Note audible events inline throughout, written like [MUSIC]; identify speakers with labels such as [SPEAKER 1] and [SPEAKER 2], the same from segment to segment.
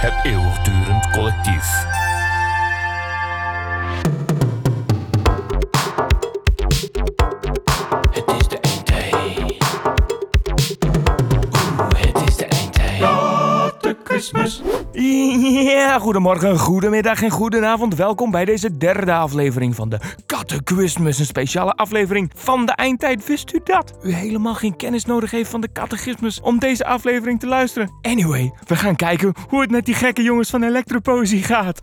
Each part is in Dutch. [SPEAKER 1] Het eeuwigdurend collectief.
[SPEAKER 2] Het is de eindtijd. Oeh, het is de eindtijd.
[SPEAKER 3] Ja, goedemorgen, goedemiddag en goedenavond. Welkom bij deze derde aflevering van de Catechismus. Een speciale aflevering van de eindtijd. Wist u dat? U helemaal geen kennis nodig heeft van de Catechismus om deze aflevering te luisteren. Anyway, we gaan kijken hoe het met die gekke jongens van Electropoëzie gaat.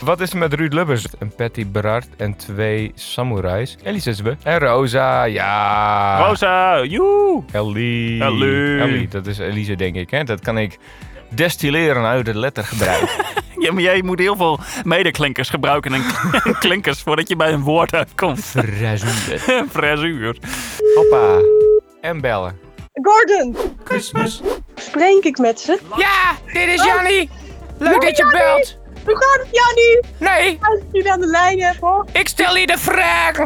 [SPEAKER 4] Wat is er met Ruud Lubbers? Een Patty Berard en twee samurais. Ellie zitten we. En Rosa,
[SPEAKER 5] Ah.
[SPEAKER 4] ja.
[SPEAKER 5] Rosa, joe!
[SPEAKER 4] Ellie.
[SPEAKER 5] Ellie.
[SPEAKER 4] Ellie, dat is Elise, denk ik. Hè? Dat kan ik destilleren uit het lettergebruik. [LAUGHS]
[SPEAKER 5] Ja, maar jij moet heel veel medeklinkers gebruiken en kl- klinkers voordat je bij een woord uitkomt. [LAUGHS]
[SPEAKER 4] Verrassend.
[SPEAKER 5] Fresuur.
[SPEAKER 4] Hoppa. En bellen.
[SPEAKER 6] Gordon! Spreek ik met ze?
[SPEAKER 7] Ja, dit is Jannie. Leuk dat je belt.
[SPEAKER 6] Hoe gaat het jou nu?
[SPEAKER 7] Nee,
[SPEAKER 6] Als ik jullie aan de lijn heb hoor.
[SPEAKER 7] ik stel je de vraag.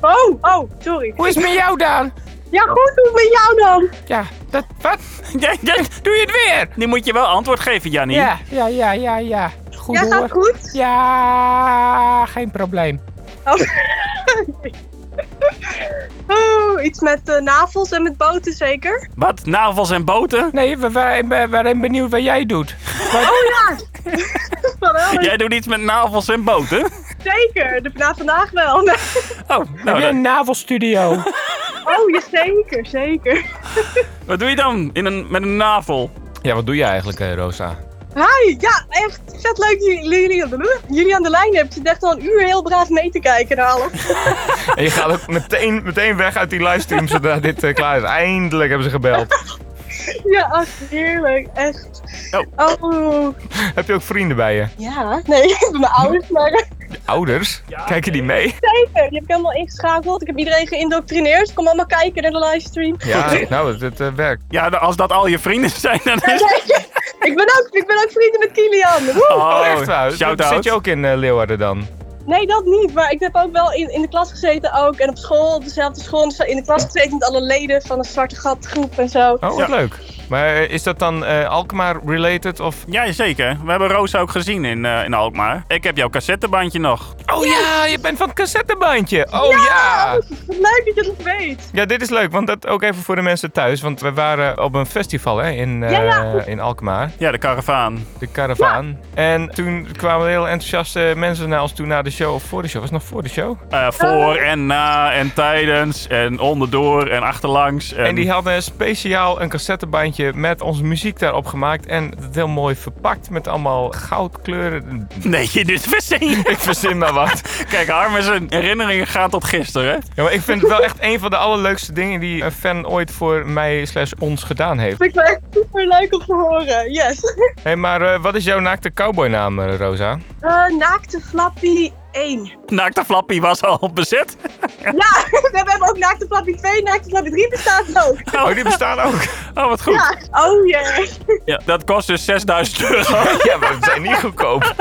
[SPEAKER 6] Oh, oh, sorry.
[SPEAKER 7] Hoe is het met jou dan?
[SPEAKER 6] Ja, goed, hoe is het met jou dan?
[SPEAKER 7] Ja, dat, wat?
[SPEAKER 5] Ja, ja,
[SPEAKER 7] Doe je het weer?
[SPEAKER 5] nu moet je wel antwoord geven, Jannie.
[SPEAKER 7] Ja, ja, ja, ja, ja. Goed
[SPEAKER 6] Ja, gaat
[SPEAKER 7] hoor.
[SPEAKER 6] goed?
[SPEAKER 7] Ja, geen probleem.
[SPEAKER 6] Oh. Oh, iets met eh, navels en met boten zeker?
[SPEAKER 5] Wat? Navels en boten?
[SPEAKER 7] Nee, we we- we- we zijn benieuwd wat jij doet.
[SPEAKER 6] Oh [LAUGHS] ja! Van alles.
[SPEAKER 5] Jij doet iets met navels en boten?
[SPEAKER 6] Zeker, de, na vandaag wel. [LAUGHS] Nee.
[SPEAKER 5] Oh,
[SPEAKER 7] Heb
[SPEAKER 5] nou,
[SPEAKER 7] je
[SPEAKER 5] dan-
[SPEAKER 7] een navelstudio?
[SPEAKER 6] Oh, ja, zeker, zeker.
[SPEAKER 5] wat doe je dan in een, met een navel?
[SPEAKER 4] Ja, wat doe je eigenlijk, eh, Rosa?
[SPEAKER 6] Hi, ja, echt vet leuk dat jullie, jullie aan de lijn hebben. Ik zit echt al een uur heel braaf mee te kijken naar alles. [LAUGHS]
[SPEAKER 4] En je gaat ook meteen, meteen weg uit die livestream zodra dit eh, klaar is. Eindelijk hebben ze gebeld.
[SPEAKER 6] Ja, ach, heerlijk, echt. oh.
[SPEAKER 4] Heb je ook vrienden bij je?
[SPEAKER 6] Ja, nee, [LAUGHS] ik heb mijn ouders, maar
[SPEAKER 4] Ouders? Kijken die mee?
[SPEAKER 6] zeker. Die heb ik helemaal ingeschakeld. Ik heb iedereen geïndoctrineerd. Kom allemaal kijken naar de livestream.
[SPEAKER 4] Ja, [LAUGHS] nou, het, het eh, werkt.
[SPEAKER 5] Ja, nou, als dat al je vrienden [LAUGHS] zijn, dan is het...
[SPEAKER 6] [LAUGHS] ik, ben ook, ik ben ook vrienden met Kilian. Woe!
[SPEAKER 4] Oh, echt waar?
[SPEAKER 5] Shout-out.
[SPEAKER 4] Zit je ook in eh, Leeuwarden dan?
[SPEAKER 6] Nee, dat niet. Maar ik heb ook wel in, in de klas gezeten ook. En op school, op dezelfde school. Dus In de klas gezeten met alle leden van de Zwarte Gat groep en zo.
[SPEAKER 4] Oh, wat leuk. Maar eh, is dat dan eh, Alkmaar-related of...
[SPEAKER 5] Ja, zeker. We hebben Roos ook gezien in, eh, in Alkmaar. Ik heb jouw cassettebandje nog.
[SPEAKER 4] Oh ja, je bent van het cassettebandje. Oh ja. ja!
[SPEAKER 6] Wat leuk dat je dat weet.
[SPEAKER 4] dit is leuk, want dat ook even voor de mensen thuis. Want we waren op een festival hè, in, eh,
[SPEAKER 6] Ja, ja.
[SPEAKER 4] in Alkmaar,
[SPEAKER 5] Ja, de karavaan.
[SPEAKER 4] de Caravaan. En toen kwamen heel enthousiaste mensen naar ons toe na de show of voor de show. Was het nog voor de show?
[SPEAKER 5] Eh, voor en na en tijdens en onderdoor en achterlangs. En,
[SPEAKER 4] En die hadden speciaal een cassettebandje met onze muziek daarop gemaakt. En het heel mooi verpakt met allemaal goudkleuren. [LAUGHS]
[SPEAKER 5] Nee, dit verzin je.
[SPEAKER 4] Ik verzin maar wat.
[SPEAKER 5] Kijk, Harm zijn herinneringen gaat tot gisteren.
[SPEAKER 4] Ja, maar ik vind het wel echt een van de allerleukste dingen die een fan ooit voor mij slash ons gedaan heeft.
[SPEAKER 6] Vind ik wel echt super leuk om te horen. Yes. [LAUGHS]
[SPEAKER 4] hey, maar eh, wat is jouw naakte cowboynaam, eh, Rosa?
[SPEAKER 6] Eh, naakte Flappy 1.
[SPEAKER 5] Naakte Flappy was al bezet.
[SPEAKER 6] Ja, [LAUGHS] we hebben ook Naakte Flappy 2. Naakte Flappy 3 bestaat ook.
[SPEAKER 4] Oh, die bestaan ook.
[SPEAKER 5] Oh, wat goed.
[SPEAKER 6] Ja. Oh jee.
[SPEAKER 5] Ja, dat kost dus 6000 euro.
[SPEAKER 4] [LAUGHS] Ja, maar we zijn niet goedkoop.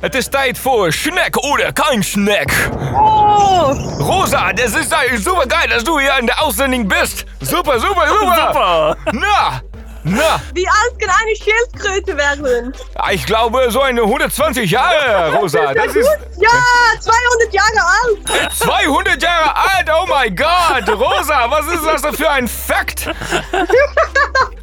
[SPEAKER 4] Het is tijd voor snack oder kein snack.
[SPEAKER 6] Oh.
[SPEAKER 4] Rosa, dat is super geil dat du hier in de uitzending bist. Super, super, super.
[SPEAKER 5] Super.
[SPEAKER 4] Na, na.
[SPEAKER 6] Wie alt kann eine Schildkröte werden?
[SPEAKER 4] Ik eh, glaube, so eine 120 Jahre, eh, [LAUGHS] Rosa. Das ist
[SPEAKER 6] Ja, 200 Jahre alt.
[SPEAKER 4] 200 Jahre alt, oh mein Gott! Rosa, was ist das denn für ein Fakt?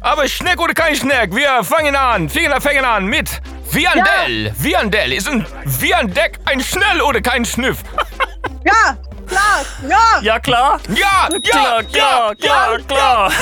[SPEAKER 4] Aber Schneck oder kein Schneck, wir fangen an, Finger fangen an mit Viandel. Viandel ist ein Viandeck, ein Schnell oder kein Schnüff.
[SPEAKER 6] Ja, klar. Ja,
[SPEAKER 5] Ja, klaar?
[SPEAKER 4] Ja, ja,
[SPEAKER 5] Klaar,
[SPEAKER 4] ja,
[SPEAKER 5] klaar,
[SPEAKER 4] ja,
[SPEAKER 5] klaar, klaar.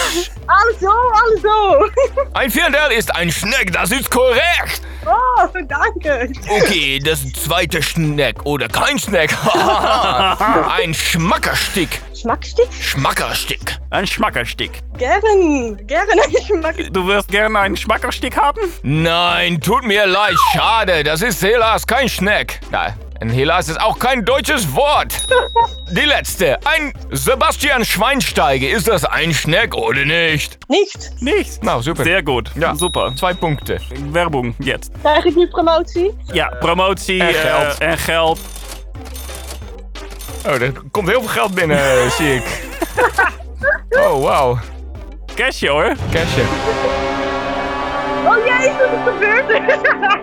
[SPEAKER 6] alles so, alles so.
[SPEAKER 4] Ein Viandel ist ein Schneck, das ist korrekt.
[SPEAKER 6] [LAUGHS] Oh, danke.
[SPEAKER 4] Okay, das zweite Schneck oder kein Schneck. [LAUGHS] ein Schmackerstick.
[SPEAKER 6] Schmackstück?
[SPEAKER 4] Schmackerstick.
[SPEAKER 5] Een schmakkerstiek.
[SPEAKER 6] Gern, [LAUGHS] gern ein Schmackstück.
[SPEAKER 5] Du wirst gerne een schmakkerstiek haben?
[SPEAKER 4] Nein, tut mir leid, schade. Das ist Helas, kein Schneck. Nein, ein Helas ist auch kein deutsches Wort. Die letzte. Ein Sebastian Schweinsteiger. Ist das ein Schneck oder nicht?
[SPEAKER 6] Nicht.
[SPEAKER 5] Nicht.
[SPEAKER 4] Na, super.
[SPEAKER 5] Sehr gut.
[SPEAKER 4] Ja.
[SPEAKER 5] Super.
[SPEAKER 4] Zwei Punkte.
[SPEAKER 5] Werbung, jetzt.
[SPEAKER 6] Krijg ik nu promotie?
[SPEAKER 5] Ja, promotie
[SPEAKER 4] en
[SPEAKER 5] eh,
[SPEAKER 4] geld.
[SPEAKER 5] en geld.
[SPEAKER 4] Oh, er komt heel veel geld binnen, eh, [LAUGHS] zie ik. Oh, wauw.
[SPEAKER 5] Cashje hoor.
[SPEAKER 4] Cashje.
[SPEAKER 6] Oh jezus, wat gebeurt er?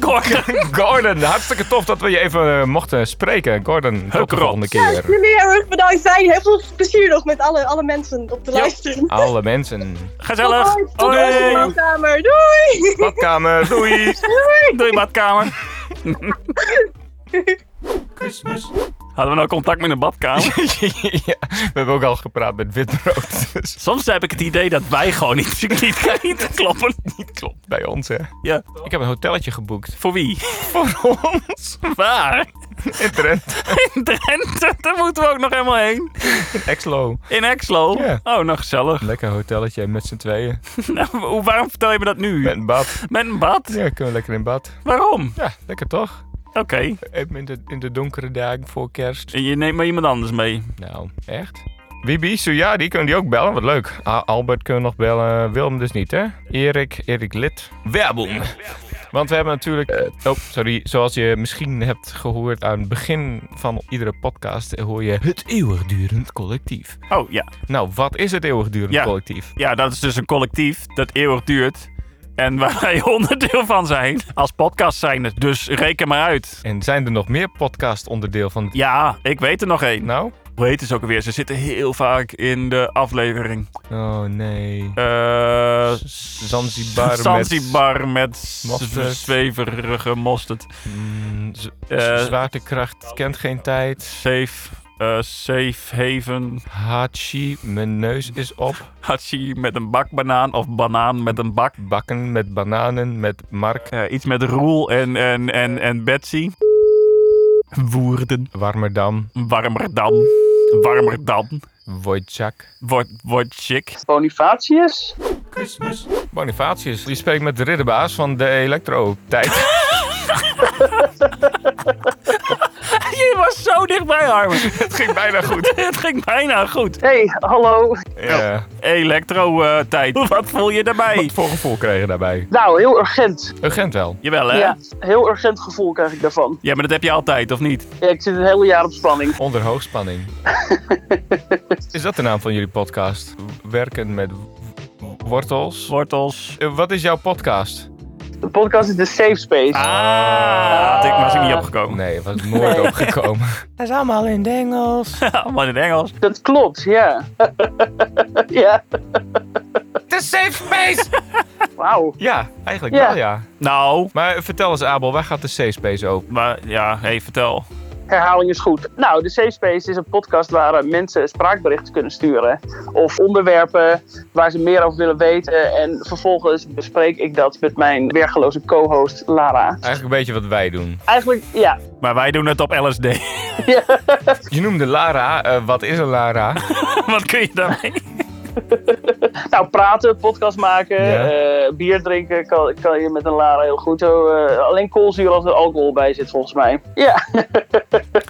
[SPEAKER 5] Gordon.
[SPEAKER 4] Gordon, hartstikke tof dat we je even eh, mochten spreken. Gordon, tot de
[SPEAKER 5] Heukerot.
[SPEAKER 4] volgende keer.
[SPEAKER 6] [LAUGHS] Jullie heel erg bedankt. Fijn. Heel veel plezier nog met alle, alle mensen op de lijst.
[SPEAKER 4] Alle mensen.
[SPEAKER 5] Gezellig.
[SPEAKER 6] Tot de
[SPEAKER 5] Doei.
[SPEAKER 6] woonkamer. Doei!
[SPEAKER 4] Badkamer, doei!
[SPEAKER 5] Doei, badkamer. Hadden we nou contact met een badkamer?
[SPEAKER 4] [LAUGHS] ja, we hebben ook al gepraat met witbrood. Dus
[SPEAKER 5] Soms heb ik het idee dat wij gewoon niet, niet, niet kloppen. Niet [LAUGHS] klopt.
[SPEAKER 4] bij ons, hè.
[SPEAKER 5] Ja.
[SPEAKER 4] Ik heb een hotelletje [LAUGHS] geboekt.
[SPEAKER 5] Voor wie?
[SPEAKER 4] Voor ons?
[SPEAKER 5] Waar?
[SPEAKER 4] In Drenthe.
[SPEAKER 5] In Drenthe. Daar moeten we ook nog helemaal heen.
[SPEAKER 4] In Exlo.
[SPEAKER 5] In Exlo.
[SPEAKER 4] Ja.
[SPEAKER 5] Oh, nog gezellig.
[SPEAKER 4] Lekker hotelletje met z'n tweeën.
[SPEAKER 5] Nou, hoe- waarom vertel je me dat nu?
[SPEAKER 4] Met een bad.
[SPEAKER 5] Met een bad?
[SPEAKER 4] Ja, kunnen we lekker in bad.
[SPEAKER 5] Waarom?
[SPEAKER 4] Ja, lekker toch?
[SPEAKER 5] Oké.
[SPEAKER 4] Even in de, in de donkere dagen voor kerst.
[SPEAKER 5] En je neemt maar iemand anders mee.
[SPEAKER 4] Nou, echt? Wibi, Suja, die kunnen die ook bellen. Wat leuk. A- Albert kunnen we nog bellen. Wilm dus niet, hè? Erik, Erik Lid. Werbung. Want we hebben natuurlijk... eh, oh, sorry. Zoals je misschien hebt gehoord aan het begin van iedere podcast... hoor je het eeuwigdurend collectief.
[SPEAKER 5] Oh ja.
[SPEAKER 4] Nou, wat is het eeuwigdurend
[SPEAKER 5] Ja.
[SPEAKER 4] collectief?
[SPEAKER 5] Ja, dat is dus een collectief dat eeuwig duurt. En waar [LAUGHS] wij onderdeel van zijn. Als podcast zijn het. Dus reken maar uit.
[SPEAKER 4] En zijn er nog meer podcast onderdeel van...
[SPEAKER 5] Ja, ik weet er nog één.
[SPEAKER 4] Nou?
[SPEAKER 5] Hoe heet ze ook alweer? Ze zitten heel vaak in de aflevering.
[SPEAKER 4] Oh, nee.
[SPEAKER 5] Eh
[SPEAKER 4] Zanzibar met-
[SPEAKER 5] Zanzibar met
[SPEAKER 4] Mosterd.
[SPEAKER 5] zweverige mosterd.
[SPEAKER 4] Mm, z-
[SPEAKER 5] Eh.
[SPEAKER 4] zwaartekracht kent geen tijd.
[SPEAKER 5] Safe, eh, safe haven.
[SPEAKER 4] Hachi, mijn neus is op.
[SPEAKER 5] Hachi met een bakbanaan of banaan met een bak.
[SPEAKER 4] Bakken met bananen met Mark.
[SPEAKER 5] Eh, iets met Roel en, en, en, en Betsy. Woerden.
[SPEAKER 4] Warmerdam,
[SPEAKER 5] Warmerdam. Warmerdam.
[SPEAKER 4] Wojciak.
[SPEAKER 5] Wordt wordt chic. [LAUGHS]
[SPEAKER 8] Bonifatius?
[SPEAKER 4] Bonifatius, je spreekt met de ridderbaas van de [LAUGHS] elektrotijd.
[SPEAKER 5] Je was zo dichtbij, Armin.
[SPEAKER 4] Het ging bijna goed.
[SPEAKER 5] Het ging bijna goed.
[SPEAKER 8] Hé, hey, hallo.
[SPEAKER 4] Ja,
[SPEAKER 5] Elektro-tijd. Wat voel je daarbij?
[SPEAKER 4] voor gevoel kregen daarbij.
[SPEAKER 8] Nou, heel urgent.
[SPEAKER 4] Urgent wel.
[SPEAKER 5] Jawel, hè?
[SPEAKER 8] Ja, heel urgent gevoel krijg ik daarvan.
[SPEAKER 5] Ja, maar dat heb je altijd, of niet?
[SPEAKER 8] Ja, ik zit het hele jaar op spanning.
[SPEAKER 4] Onder hoogspanning. Is dat de naam van jullie podcast? Werken met w- wortels?
[SPEAKER 5] Wortels.
[SPEAKER 4] Eh, Wat is jouw podcast?
[SPEAKER 8] De podcast is de safe space.
[SPEAKER 5] Ah, had Ah, ik was ik niet opgekomen.
[SPEAKER 4] Nee, was nooit opgekomen.
[SPEAKER 7] Dat is allemaal in het
[SPEAKER 5] [LAUGHS]
[SPEAKER 7] Engels.
[SPEAKER 5] Allemaal in het Engels.
[SPEAKER 8] Dat klopt, ja. [LAUGHS] ja,
[SPEAKER 7] De safe space!
[SPEAKER 4] [LAUGHS]
[SPEAKER 8] wauw.
[SPEAKER 4] Ja, eigenlijk
[SPEAKER 8] Ja.
[SPEAKER 4] wel ja.
[SPEAKER 5] Nou,
[SPEAKER 4] Maar vertel eens Abel, waar gaat de C-Space over?
[SPEAKER 5] maar ja, hé, vertel.
[SPEAKER 8] Herhaling is goed. Nou, de Safe Space is een podcast waar eh, mensen spraakberichten kunnen sturen. Of onderwerpen waar ze meer over willen weten. En vervolgens bespreek ik dat met mijn wergeloze co-host Lara.
[SPEAKER 4] Eigenlijk een beetje wat wij doen.
[SPEAKER 8] Eigenlijk, ja.
[SPEAKER 5] Maar wij doen het op LSD.
[SPEAKER 4] Je noemde Lara. eh, wat is een Lara?
[SPEAKER 5] [LAUGHS] [LAUGHS] Wat kun je daarmee?
[SPEAKER 8] Nou, praten, podcast maken,
[SPEAKER 4] Ja.
[SPEAKER 8] eh, bier drinken kan, kan je met een Lara heel goed. Zo, eh, alleen koolzuur als er alcohol bij zit, volgens mij. Ja,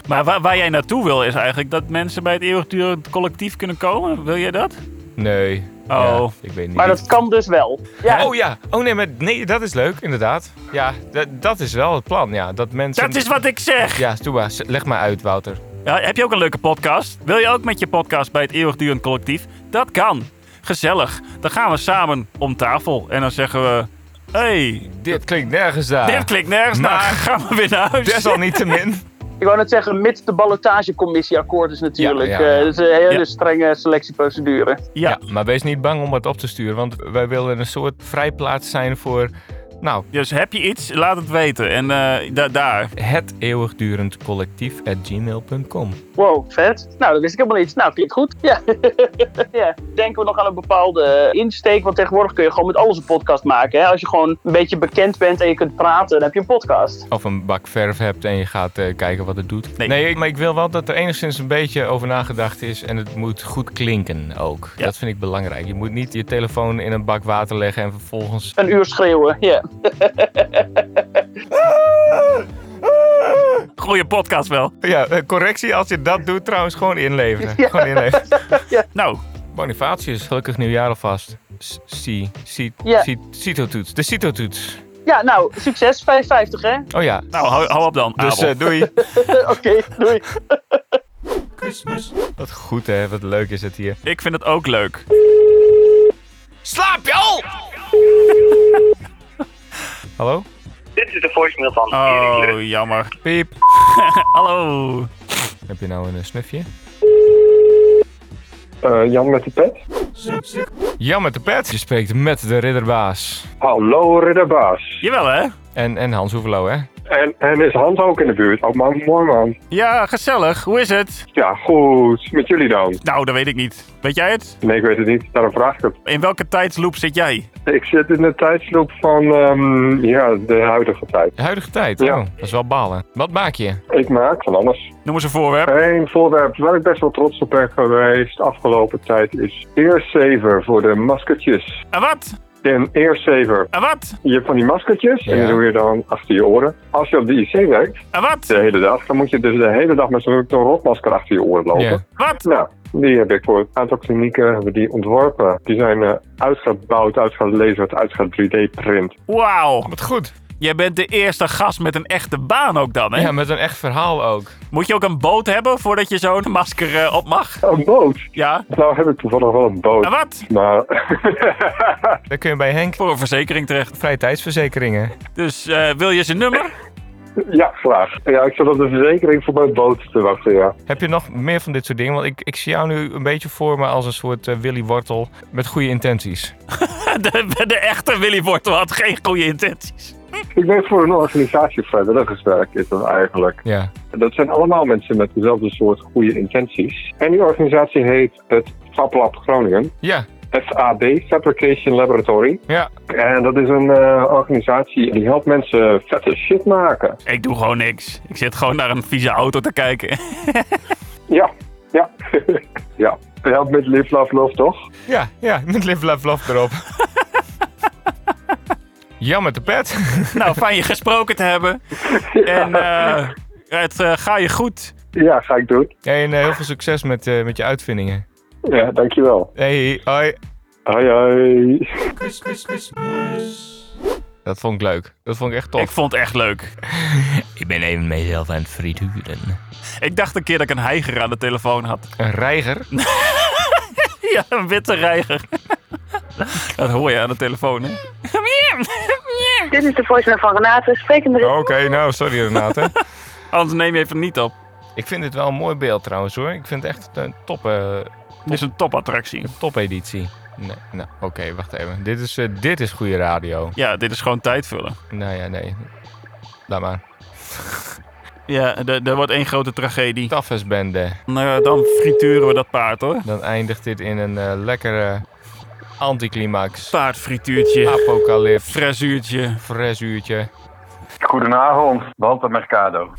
[SPEAKER 5] Maar waar, waar jij naartoe wil is eigenlijk dat mensen bij het eeuwigdurend collectief kunnen komen. Wil jij dat?
[SPEAKER 4] Nee.
[SPEAKER 5] Oh.
[SPEAKER 4] Ja, ik weet niet.
[SPEAKER 8] maar dat kan dus wel. Ja,
[SPEAKER 4] Oh ja. Oh nee, maar nee, dat is leuk, inderdaad. Ja, d- dat is wel het plan. Ja, dat mensen.
[SPEAKER 5] Dat is wat ik zeg!
[SPEAKER 4] Ja, doe maar. Leg maar uit, Wouter.
[SPEAKER 5] Ja, heb je ook een leuke podcast? Wil je ook met je podcast bij het eeuwigdurend collectief? Dat kan. Gezellig. Dan gaan we samen om tafel en dan zeggen we... hey,
[SPEAKER 4] Dit klinkt nergens daar.
[SPEAKER 5] dit klinkt nergens
[SPEAKER 4] Ah. Maar-
[SPEAKER 5] naar. Gaan we weer naar huis.
[SPEAKER 4] [LAUGHS] Desalniettemin.
[SPEAKER 8] ik wou net zeggen, mits de ballotagecommissie akkoord is natuurlijk.
[SPEAKER 4] Ja,
[SPEAKER 8] Eh
[SPEAKER 4] ja, ja.
[SPEAKER 8] dat is een hele
[SPEAKER 5] Ja.
[SPEAKER 8] strenge selectieprocedure.
[SPEAKER 5] Ja,
[SPEAKER 4] Ja, maar wees niet bang om het op te sturen, want wij willen een soort vrijplaats zijn voor. Nou,
[SPEAKER 5] dus heb je iets? Laat het weten. En eh, da- daar.
[SPEAKER 4] het eeuwigdurend collectief at gmail.com.
[SPEAKER 8] Wow, vet. Nou, dat wist ik helemaal niet. Nou, klinkt goed. Ja. [LAUGHS] ja. Denken we nog aan een bepaalde insteek? Want tegenwoordig kun je gewoon met alles een podcast maken. Hè? Als je gewoon een beetje bekend bent en je kunt praten, dan heb je een podcast.
[SPEAKER 4] Of een bak verf hebt en je gaat eh, kijken wat het doet.
[SPEAKER 5] Nee.
[SPEAKER 4] ik- maar ik wil wel dat er enigszins een beetje over nagedacht is. En het moet goed klinken ook.
[SPEAKER 5] Ja.
[SPEAKER 4] Dat vind ik belangrijk. Je moet niet je telefoon in een bak water leggen en
[SPEAKER 5] [LAUGHS]
[SPEAKER 4] vervolgens.
[SPEAKER 8] Een uur schreeuwen, ja.
[SPEAKER 5] Goeie podcast wel.
[SPEAKER 4] Ja, eh, correctie als je dat doet trouwens, gewoon inleveren. Gewoon inleveren.
[SPEAKER 5] Nou,
[SPEAKER 4] Bonifatius, gelukkig nieuwjaar alvast. S- Si, si,
[SPEAKER 8] Ja.
[SPEAKER 4] si, CITO-toets. De CITO-toets.
[SPEAKER 8] Ja, nou, succes. 5,50 hè?
[SPEAKER 4] Oh ja.
[SPEAKER 5] nou hou, hou op dan,
[SPEAKER 4] Dus
[SPEAKER 5] Abel.
[SPEAKER 4] eh, doei.
[SPEAKER 8] Oké, doei.
[SPEAKER 4] Wat goed hè, wat leuk is het hier.
[SPEAKER 5] Ik vind het ook leuk.
[SPEAKER 4] Slaap je al? Hallo?
[SPEAKER 9] Dit is de voicemail van Erik Lust.
[SPEAKER 5] Oh, jammer.
[SPEAKER 4] Piep.
[SPEAKER 5] Hallo.
[SPEAKER 4] Heb je nou een eh, snufje?
[SPEAKER 10] Eh, Jan met de pet.
[SPEAKER 4] Jan met de pet. Je spreekt met de ridderbaas.
[SPEAKER 10] Hallo ridderbaas.
[SPEAKER 5] Jawel, hè?
[SPEAKER 4] En, en Hans Hoevelo, hè?
[SPEAKER 10] En, en is Hans ook in de buurt? Oh man, mooi man.
[SPEAKER 5] Ja, gezellig. Hoe is het?
[SPEAKER 10] Ja, goed. Met jullie dan?
[SPEAKER 5] Nou, dat weet ik niet. Weet jij het?
[SPEAKER 10] Nee, ik weet het niet. Daarom vraag ik het.
[SPEAKER 5] In welke tijdsloop zit jij?
[SPEAKER 10] Ik zit in de tijdsloop van ehm, ja, de huidige tijd.
[SPEAKER 4] De huidige tijd.
[SPEAKER 10] Ja.
[SPEAKER 4] Oh, dat is wel balen. Wat maak je?
[SPEAKER 10] Ik maak van alles.
[SPEAKER 5] Noem eens een voorwerp.
[SPEAKER 10] Eén voorwerp waar ik best wel trots op ben geweest afgelopen tijd is Earsaver voor de maskertjes.
[SPEAKER 5] En wat?
[SPEAKER 10] Een Earsaver.
[SPEAKER 5] En wat?
[SPEAKER 10] Je hebt van die maskertjes en
[SPEAKER 4] Ja.
[SPEAKER 10] die doe je dan achter je oren. Als je op de IC werkt,
[SPEAKER 5] En wat?
[SPEAKER 10] de hele dag, dan moet je dus de hele dag met zo'n zo'n rotmasker achter je oren lopen.
[SPEAKER 4] Ja.
[SPEAKER 5] Wat?
[SPEAKER 10] Nou, die heb ik voor een aantal klinieken hebben we die ontworpen. Die zijn eh, uitgebouwd, uitgelezerd, uitge 3D-print.
[SPEAKER 5] Wauw.
[SPEAKER 4] Wat goed.
[SPEAKER 5] Jij bent de eerste gast met een echte baan ook dan, hè?
[SPEAKER 4] Ja, met een echt verhaal ook.
[SPEAKER 5] Moet je ook een boot hebben voordat je zo'n masker eh, op mag?
[SPEAKER 10] Een boot!
[SPEAKER 5] Ja.
[SPEAKER 10] Nou heb ik toevallig wel een
[SPEAKER 5] En
[SPEAKER 10] boot.
[SPEAKER 5] wat?
[SPEAKER 10] Maar [LAUGHS]
[SPEAKER 4] Dan kun je bij Henk
[SPEAKER 5] Voor een verzekering terecht.
[SPEAKER 4] vrije tijdsverzekeringen.
[SPEAKER 5] Dus eh, wil je zijn nummer?
[SPEAKER 10] ja, graag. Ja, ik zat op de verzekering voor mijn boot te wachten, ja.
[SPEAKER 4] Heb je nog meer van dit soort dingen? Want ik, ik zie jou nu een beetje voor me als een soort eh, Willy Wortel met goede intenties.
[SPEAKER 5] De, de echte Willy Wortel had geen goede intenties.
[SPEAKER 10] Ik ben voor een organisatie vrijwilligerswerk, is dat eigenlijk.
[SPEAKER 4] Ja.
[SPEAKER 10] Dat zijn allemaal mensen met dezelfde soort goede intenties. En die organisatie heet het FabLab Groningen.
[SPEAKER 4] Ja.
[SPEAKER 10] FAB, Fabrication Laboratory.
[SPEAKER 4] Ja.
[SPEAKER 10] En dat is een eh, organisatie die helpt mensen vette shit maken.
[SPEAKER 5] Ik doe gewoon niks. Ik zit gewoon naar een vieze auto te kijken. [LAUGHS]
[SPEAKER 10] Ja, ja, [LAUGHS] ja. Dat helpt met Live, Love, Love, toch?
[SPEAKER 4] Ja, ja. [LAUGHS] Met Live, Love,
[SPEAKER 1] [LAUGHS]
[SPEAKER 4] Love erop. Jan met de
[SPEAKER 1] [LAUGHS]
[SPEAKER 4] pet.
[SPEAKER 5] Nou, fijn je gesproken te hebben. En eh, het eh, ga je goed.
[SPEAKER 10] Ja, ga ik doen.
[SPEAKER 4] Hey, en eh, heel veel succes met, eh, met je uitvindingen.
[SPEAKER 10] Ja, dankjewel.
[SPEAKER 4] Hey, hoi.
[SPEAKER 10] Hoi, hoi.
[SPEAKER 4] Dat vond ik leuk. Dat vond ik echt
[SPEAKER 5] Ik
[SPEAKER 4] tof.
[SPEAKER 5] vond het echt leuk.
[SPEAKER 1] Ik ben even mezelf aan het frituren.
[SPEAKER 5] Ik dacht een keer dat ik een heiger aan de telefoon had. [LAUGHS]
[SPEAKER 4] Een reiger?
[SPEAKER 5] Ja, een witte reiger. [LAUGHS] Dat hoor je aan de telefoon, hè?
[SPEAKER 9] Dit is de voicemail van Renate. Sprekende
[SPEAKER 4] Oké, nou, sorry Renate.
[SPEAKER 5] Anders neem je even niet op.
[SPEAKER 4] [LAUGHS] ik vind dit wel een mooi beeld trouwens hoor. Ik vind het echt een top, eh,
[SPEAKER 5] Dit is een topattractie.
[SPEAKER 4] top editie. Nee, nou, oké, wacht even. Dit is, eh, dit is goede radio.
[SPEAKER 5] Ja, dit is gewoon tijd vullen.
[SPEAKER 4] Nou ja, nee. Laat maar.
[SPEAKER 5] Ja, d- er wordt één grote tragedie.
[SPEAKER 4] Taffes bende.
[SPEAKER 5] Nou ja, dan frituren we dat paard, hoor.
[SPEAKER 4] Dan eindigt dit in een eh, lekkere anticlimax.
[SPEAKER 5] Paardfrituurtje.
[SPEAKER 4] Apocalypse.
[SPEAKER 5] Frazuurtje.
[SPEAKER 4] Fresuurtje.
[SPEAKER 10] Goedenavond, Walter Mercado.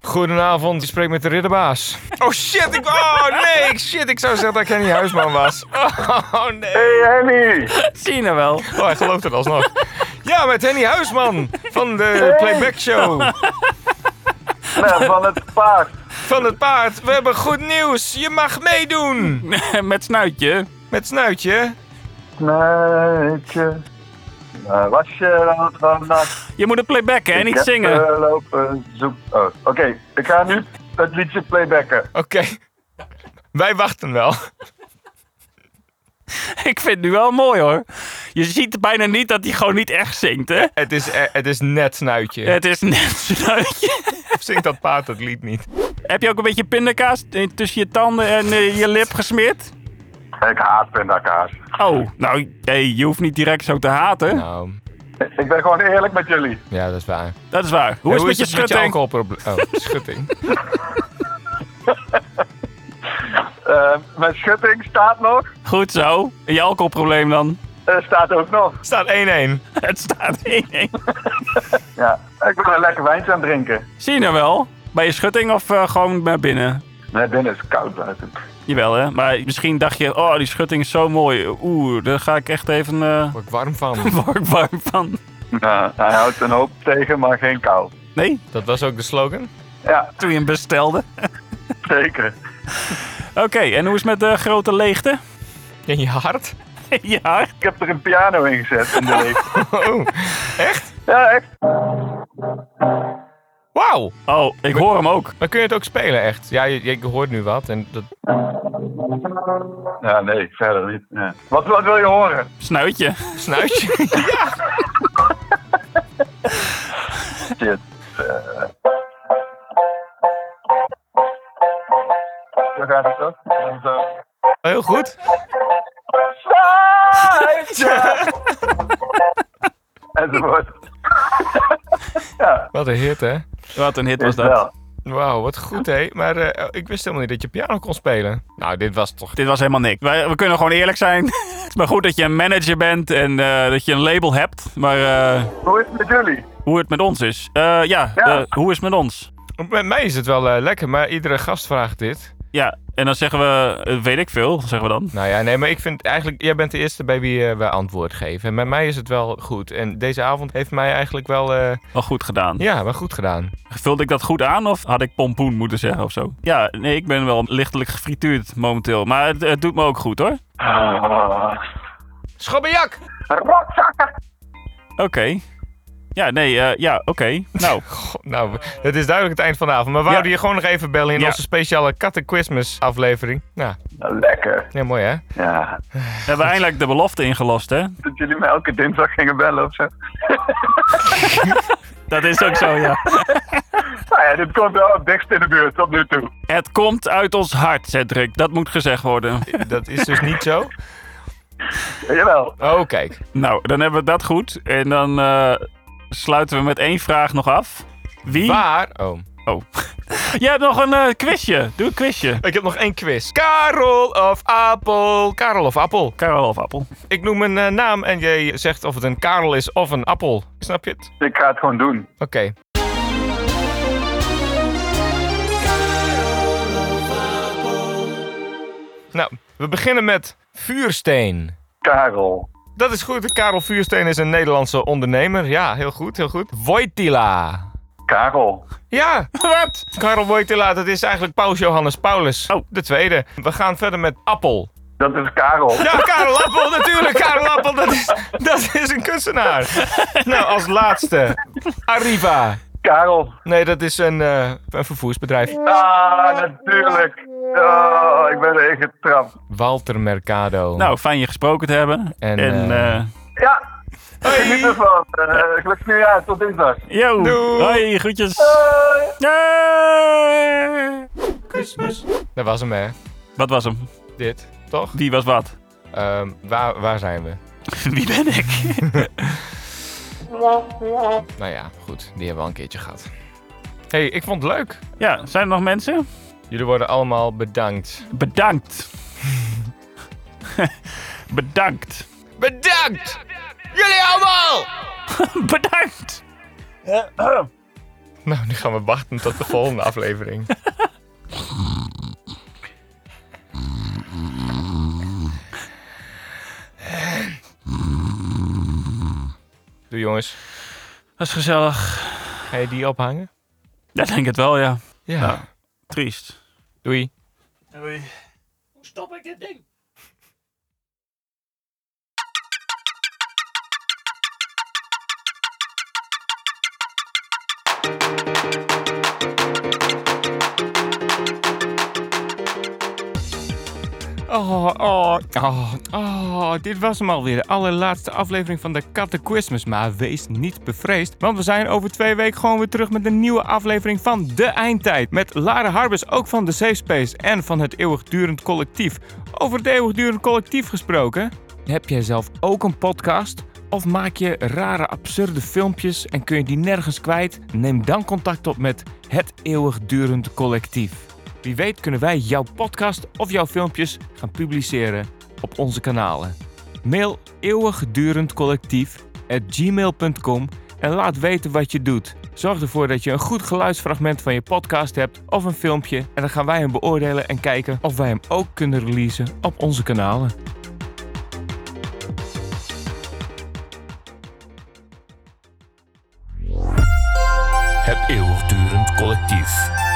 [SPEAKER 4] Goedenavond, je spreekt met de ridderbaas. Oh shit, ik... Oh nee, shit, ik zou zeggen dat ik Henny Huisman was. [LAUGHS] Oh nee.
[SPEAKER 10] Hey, Henny!
[SPEAKER 5] Zie je nou wel?
[SPEAKER 4] Oh, hij gelooft het alsnog. Ja, met Henny Huisman van de Playback Show.
[SPEAKER 10] Nou, van het paard.
[SPEAKER 4] Van het paard. We hebben goed nieuws. Je mag meedoen.
[SPEAKER 5] [LAUGHS] Met snuitje.
[SPEAKER 4] Met snuitje.
[SPEAKER 10] Meidje. Waar was je dan vannacht?
[SPEAKER 5] Je moet het playbacken en niet
[SPEAKER 10] Ik heb,
[SPEAKER 5] zingen.
[SPEAKER 10] eh, lopen zoek. Oh, Oké, ik ga nu het liedje playbacken.
[SPEAKER 4] Oké. Wij wachten wel.
[SPEAKER 5] [LAUGHS] Ik vind het nu wel mooi, hoor. Je ziet bijna niet dat hij gewoon niet echt zingt, hè?
[SPEAKER 4] Het is, eh, het is net snuitje.
[SPEAKER 5] Het is net snuitje. [LAUGHS]
[SPEAKER 4] Of zingt dat paard het lied niet?
[SPEAKER 5] Heb je ook een beetje pindakaas eh, tussen je tanden en eh, je lip gesmeerd?
[SPEAKER 10] Ik haat pindakaas.
[SPEAKER 5] Oh, nou, hey, je hoeft niet direct zo te haten.
[SPEAKER 4] Nou,
[SPEAKER 10] Ik ben gewoon eerlijk met jullie.
[SPEAKER 4] ja, dat is waar.
[SPEAKER 5] Dat is waar. Hoe is het met je schutting?
[SPEAKER 4] alcoholprobleem? [LAUGHS] Oh, schutting.
[SPEAKER 10] Eh, mijn schutting staat nog.
[SPEAKER 5] Goed zo. En je alcoholprobleem dan? [LAUGHS]
[SPEAKER 10] Eh, staat ook nog.
[SPEAKER 4] Staat 1-1.
[SPEAKER 5] Het staat 1-1.
[SPEAKER 10] Ja, ik ben een lekker wijntje aan het drinken.
[SPEAKER 5] Zie je nou wel? Bij je schutting of eh, gewoon naar binnen?
[SPEAKER 10] Nee, binnen is het koud buiten.
[SPEAKER 5] Jawel, hè? Maar misschien dacht je, oh, die schutting is zo mooi. Oeh, daar ga ik echt even eh [LAUGHS]
[SPEAKER 4] Word ik warm van.
[SPEAKER 5] warm, warm van.
[SPEAKER 10] Ja, hij houdt een hoop tegen, maar geen kou.
[SPEAKER 5] Nee,
[SPEAKER 4] Dat was ook de slogan.
[SPEAKER 10] Ja,
[SPEAKER 5] toen je hem bestelde.
[SPEAKER 10] zeker.
[SPEAKER 5] Oké, en hoe is het met de grote leegte? [LAUGHS]
[SPEAKER 4] In je hart?
[SPEAKER 5] ja.
[SPEAKER 10] Ik heb er een piano in gezet in de week.
[SPEAKER 4] Oh,
[SPEAKER 10] Ja, echt.
[SPEAKER 4] wauw.
[SPEAKER 5] Oh, ik hoor hem ook.
[SPEAKER 4] Maar kun je het ook spelen, echt? Ja, je, je hoort nu wat. En dat...
[SPEAKER 10] Ja, nee, verder niet. Ja. Wat, wat wil je horen?
[SPEAKER 5] Snuitje.
[SPEAKER 4] Snuitje.
[SPEAKER 11] Shit. eh. Zo gaat het toch? En zo.
[SPEAKER 4] [LAUGHS] Heel goed.
[SPEAKER 11] Enzovoort.
[SPEAKER 4] Wat een hit, hè? Wat een hit
[SPEAKER 11] was dat. wel.
[SPEAKER 4] Wauw, wat goed, hè? Maar eh, ik wist helemaal niet dat je piano kon spelen. Nou, dit was toch...
[SPEAKER 5] Dit was helemaal niks. Wij, we kunnen gewoon eerlijk zijn. [LAUGHS] het is maar goed dat je een manager bent en eh, dat je een label hebt. Maar eh,
[SPEAKER 11] Hoe is het met jullie?
[SPEAKER 5] hoe het met ons is. Eh, ja, eh, hoe is het met ons?
[SPEAKER 4] Met mij is het wel eh, lekker, maar iedere gast vraagt dit.
[SPEAKER 5] Ja, en dan zeggen we, eh, weet ik veel, zeggen we dan.
[SPEAKER 4] Nou ja, nee, maar ik vind eigenlijk... Jij bent de eerste bij wie eh, we antwoord geven. En met mij is het wel goed. En deze avond heeft mij eigenlijk wel... eh,
[SPEAKER 5] Wel goed gedaan.
[SPEAKER 4] ja, wel goed gedaan.
[SPEAKER 5] Vulde ik dat goed aan of had ik pompoen moeten zeggen of zo? Ja, nee, ik ben wel lichtelijk gefrituurd momenteel. Maar het, het doet me ook goed hoor.
[SPEAKER 4] Schobbejak!
[SPEAKER 5] Oké. Ja, nee, eh, ja, oké.
[SPEAKER 4] [LAUGHS]
[SPEAKER 5] Nou,
[SPEAKER 4] Goh, nou, het is duidelijk het eind van de avond. Maar we houden je gewoon nog even bellen in
[SPEAKER 5] Ja.
[SPEAKER 4] onze speciale Kattenquismus aflevering. Nou,
[SPEAKER 11] Nou, lekker.
[SPEAKER 4] ja, mooi hè?
[SPEAKER 11] Ja.
[SPEAKER 5] we hebben eindelijk de belofte ingelost, hè?
[SPEAKER 11] Dat jullie me elke dinsdag gingen bellen of zo.
[SPEAKER 5] Dat is ook zo, ja.
[SPEAKER 11] Nou ja, dit komt wel het dichtst in de buurt tot nu toe.
[SPEAKER 5] Het komt uit ons hart, Cedric. Dat moet gezegd worden.
[SPEAKER 4] Dat is dus niet zo.
[SPEAKER 11] Jawel.
[SPEAKER 4] Oh, kijk.
[SPEAKER 5] Nou, dan hebben we dat goed. En dan eh, sluiten we met één vraag nog af. Wie?
[SPEAKER 4] Waar... Oh.
[SPEAKER 5] Oh. Jij hebt nog een eh, quizje. Doe een quizje.
[SPEAKER 4] Ik heb nog één quiz. Karel of Appel. Karel of Appel.
[SPEAKER 5] Karel of Appel.
[SPEAKER 4] Ik noem een eh, naam en jij zegt of het een Karel is of een appel. Snap je het?
[SPEAKER 11] Ik ga het gewoon doen.
[SPEAKER 4] Oké. Nou, we beginnen met vuursteen.
[SPEAKER 11] Karel.
[SPEAKER 4] Dat is goed. Karel Vuursteen is een Nederlandse ondernemer. Ja, heel goed, heel goed. Wojtyla.
[SPEAKER 11] Karel.
[SPEAKER 4] Ja, [LAUGHS] wat? Karel Wojtyla, dat is eigenlijk Paus Johannes Paulus.
[SPEAKER 5] Oh.
[SPEAKER 4] De tweede. We gaan verder met Appel.
[SPEAKER 11] Dat is Karel.
[SPEAKER 4] Ja, Karel Appel, [LAUGHS] natuurlijk. Karel Appel, dat is, dat is een
[SPEAKER 5] [LAUGHS]
[SPEAKER 4] kunstenaar. Nou, als laatste. Arriva.
[SPEAKER 11] Karel.
[SPEAKER 4] Nee, dat is een, eh, een vervoersbedrijf.
[SPEAKER 11] Ah, natuurlijk. Oh, ik ben erin getrapt.
[SPEAKER 4] Walter Mercado.
[SPEAKER 5] Nou, fijn je gesproken te hebben.
[SPEAKER 4] En,
[SPEAKER 5] En,
[SPEAKER 4] eh,
[SPEAKER 5] eh,
[SPEAKER 11] Ja. Geniet ervan. Eh, gelukkig nieuwjaar. Tot dinsdag.
[SPEAKER 5] yo.
[SPEAKER 4] Doei.
[SPEAKER 5] Hoi, groetjes. Hey.
[SPEAKER 4] Dat was hem, hè.
[SPEAKER 5] Wat was hem?
[SPEAKER 4] Dit, toch?
[SPEAKER 5] Wie was wat? [LAUGHS]
[SPEAKER 4] Ehm, waar, waar zijn we?
[SPEAKER 5] Wie ben ik?
[SPEAKER 4] Nou ja, goed. Die hebben we al een keertje gehad. hey, ik vond het leuk.
[SPEAKER 5] ja, zijn er nog mensen?
[SPEAKER 4] Jullie worden allemaal bedankt.
[SPEAKER 5] Bedankt. [LAUGHS] Bedankt.
[SPEAKER 4] Bedankt! Jullie allemaal!
[SPEAKER 5] Bedankt.
[SPEAKER 4] Nou, nu gaan we wachten tot de volgende aflevering. Doe jongens.
[SPEAKER 5] Dat is gezellig.
[SPEAKER 4] Ga je die ophangen?
[SPEAKER 5] Ja, denk het wel, ja.
[SPEAKER 4] Ja.
[SPEAKER 5] Triest.
[SPEAKER 4] Doei.
[SPEAKER 7] Stop ik dit ding?
[SPEAKER 4] Oh, oh, oh, oh, dit was hem alweer. De allerlaatste aflevering van de Catechismus. Maar wees niet bevreesd, want we zijn over twee weken gewoon weer terug met een nieuwe aflevering van De Eindtijd. Met Lara Harbers, ook van de Safe Space en van het Eeuwigdurend Collectief. Over het Eeuwigdurend Collectief gesproken. Heb jij zelf ook een podcast? Of maak je rare, absurde filmpjes en kun je die nergens kwijt? Neem dan contact op met het Eeuwigdurend Collectief. Wie weet kunnen wij jouw podcast of jouw filmpjes gaan publiceren op onze kanalen. Mail eeuwigdurendcollectief@gmail.com en laat weten wat je doet. Zorg ervoor dat je een goed geluidsfragment van je podcast hebt of een filmpje en dan gaan wij hem beoordelen en kijken of wij hem ook kunnen releasen op onze kanalen.
[SPEAKER 2] Het eeuwigdurend collectief.